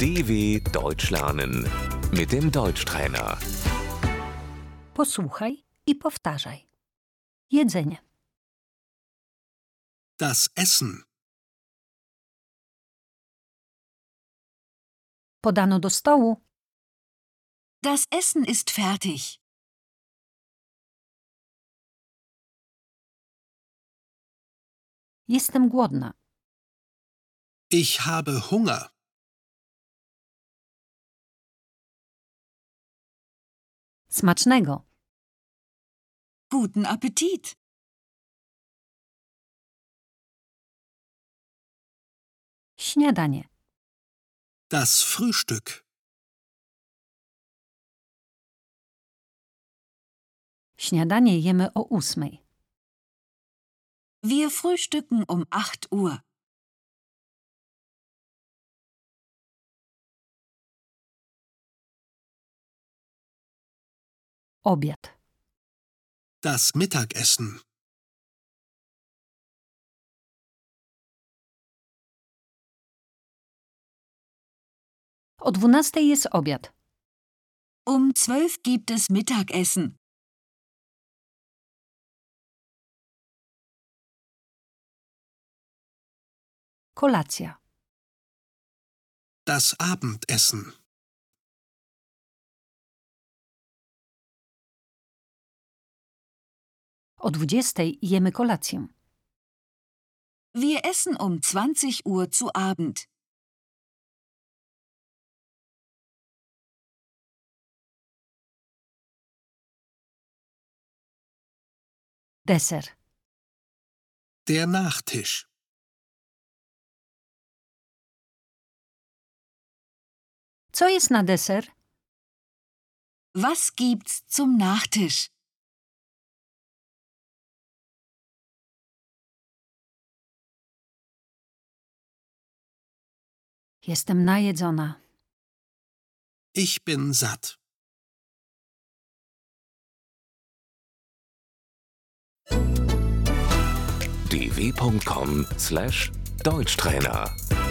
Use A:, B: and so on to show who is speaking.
A: DW Deutsch lernen mit dem Deutschtrainer.
B: Posłuchaj i powtarzaj. Jedzenie,
C: Das Essen.
B: podano do stołu,
D: Das Essen ist fertig.
B: jestem głodna,
C: Ich habe Hunger.
B: smacznego,
D: Guten Appetit.
B: śniadanie,
C: Das Frühstück.
B: śniadanie jemy o ósmej,
D: Wir frühstücken um 8 Uhr.
B: obiad,
C: Das Mittagessen.
B: o dwunastej jest obiad,
D: Um 12 gibt es Mittagessen.
B: kolacja,
C: Das Abendessen.
B: o dwudziestej jemy kolację,
D: Wir essen um 20 Uhr zu Abend.
B: deser,
C: Der Nachtisch.
B: Co jest na deser?
D: Was gibt's zum Nachtisch?
B: Jestem najedzona.
C: Ich bin satt.
A: dw.com/deutschtrainer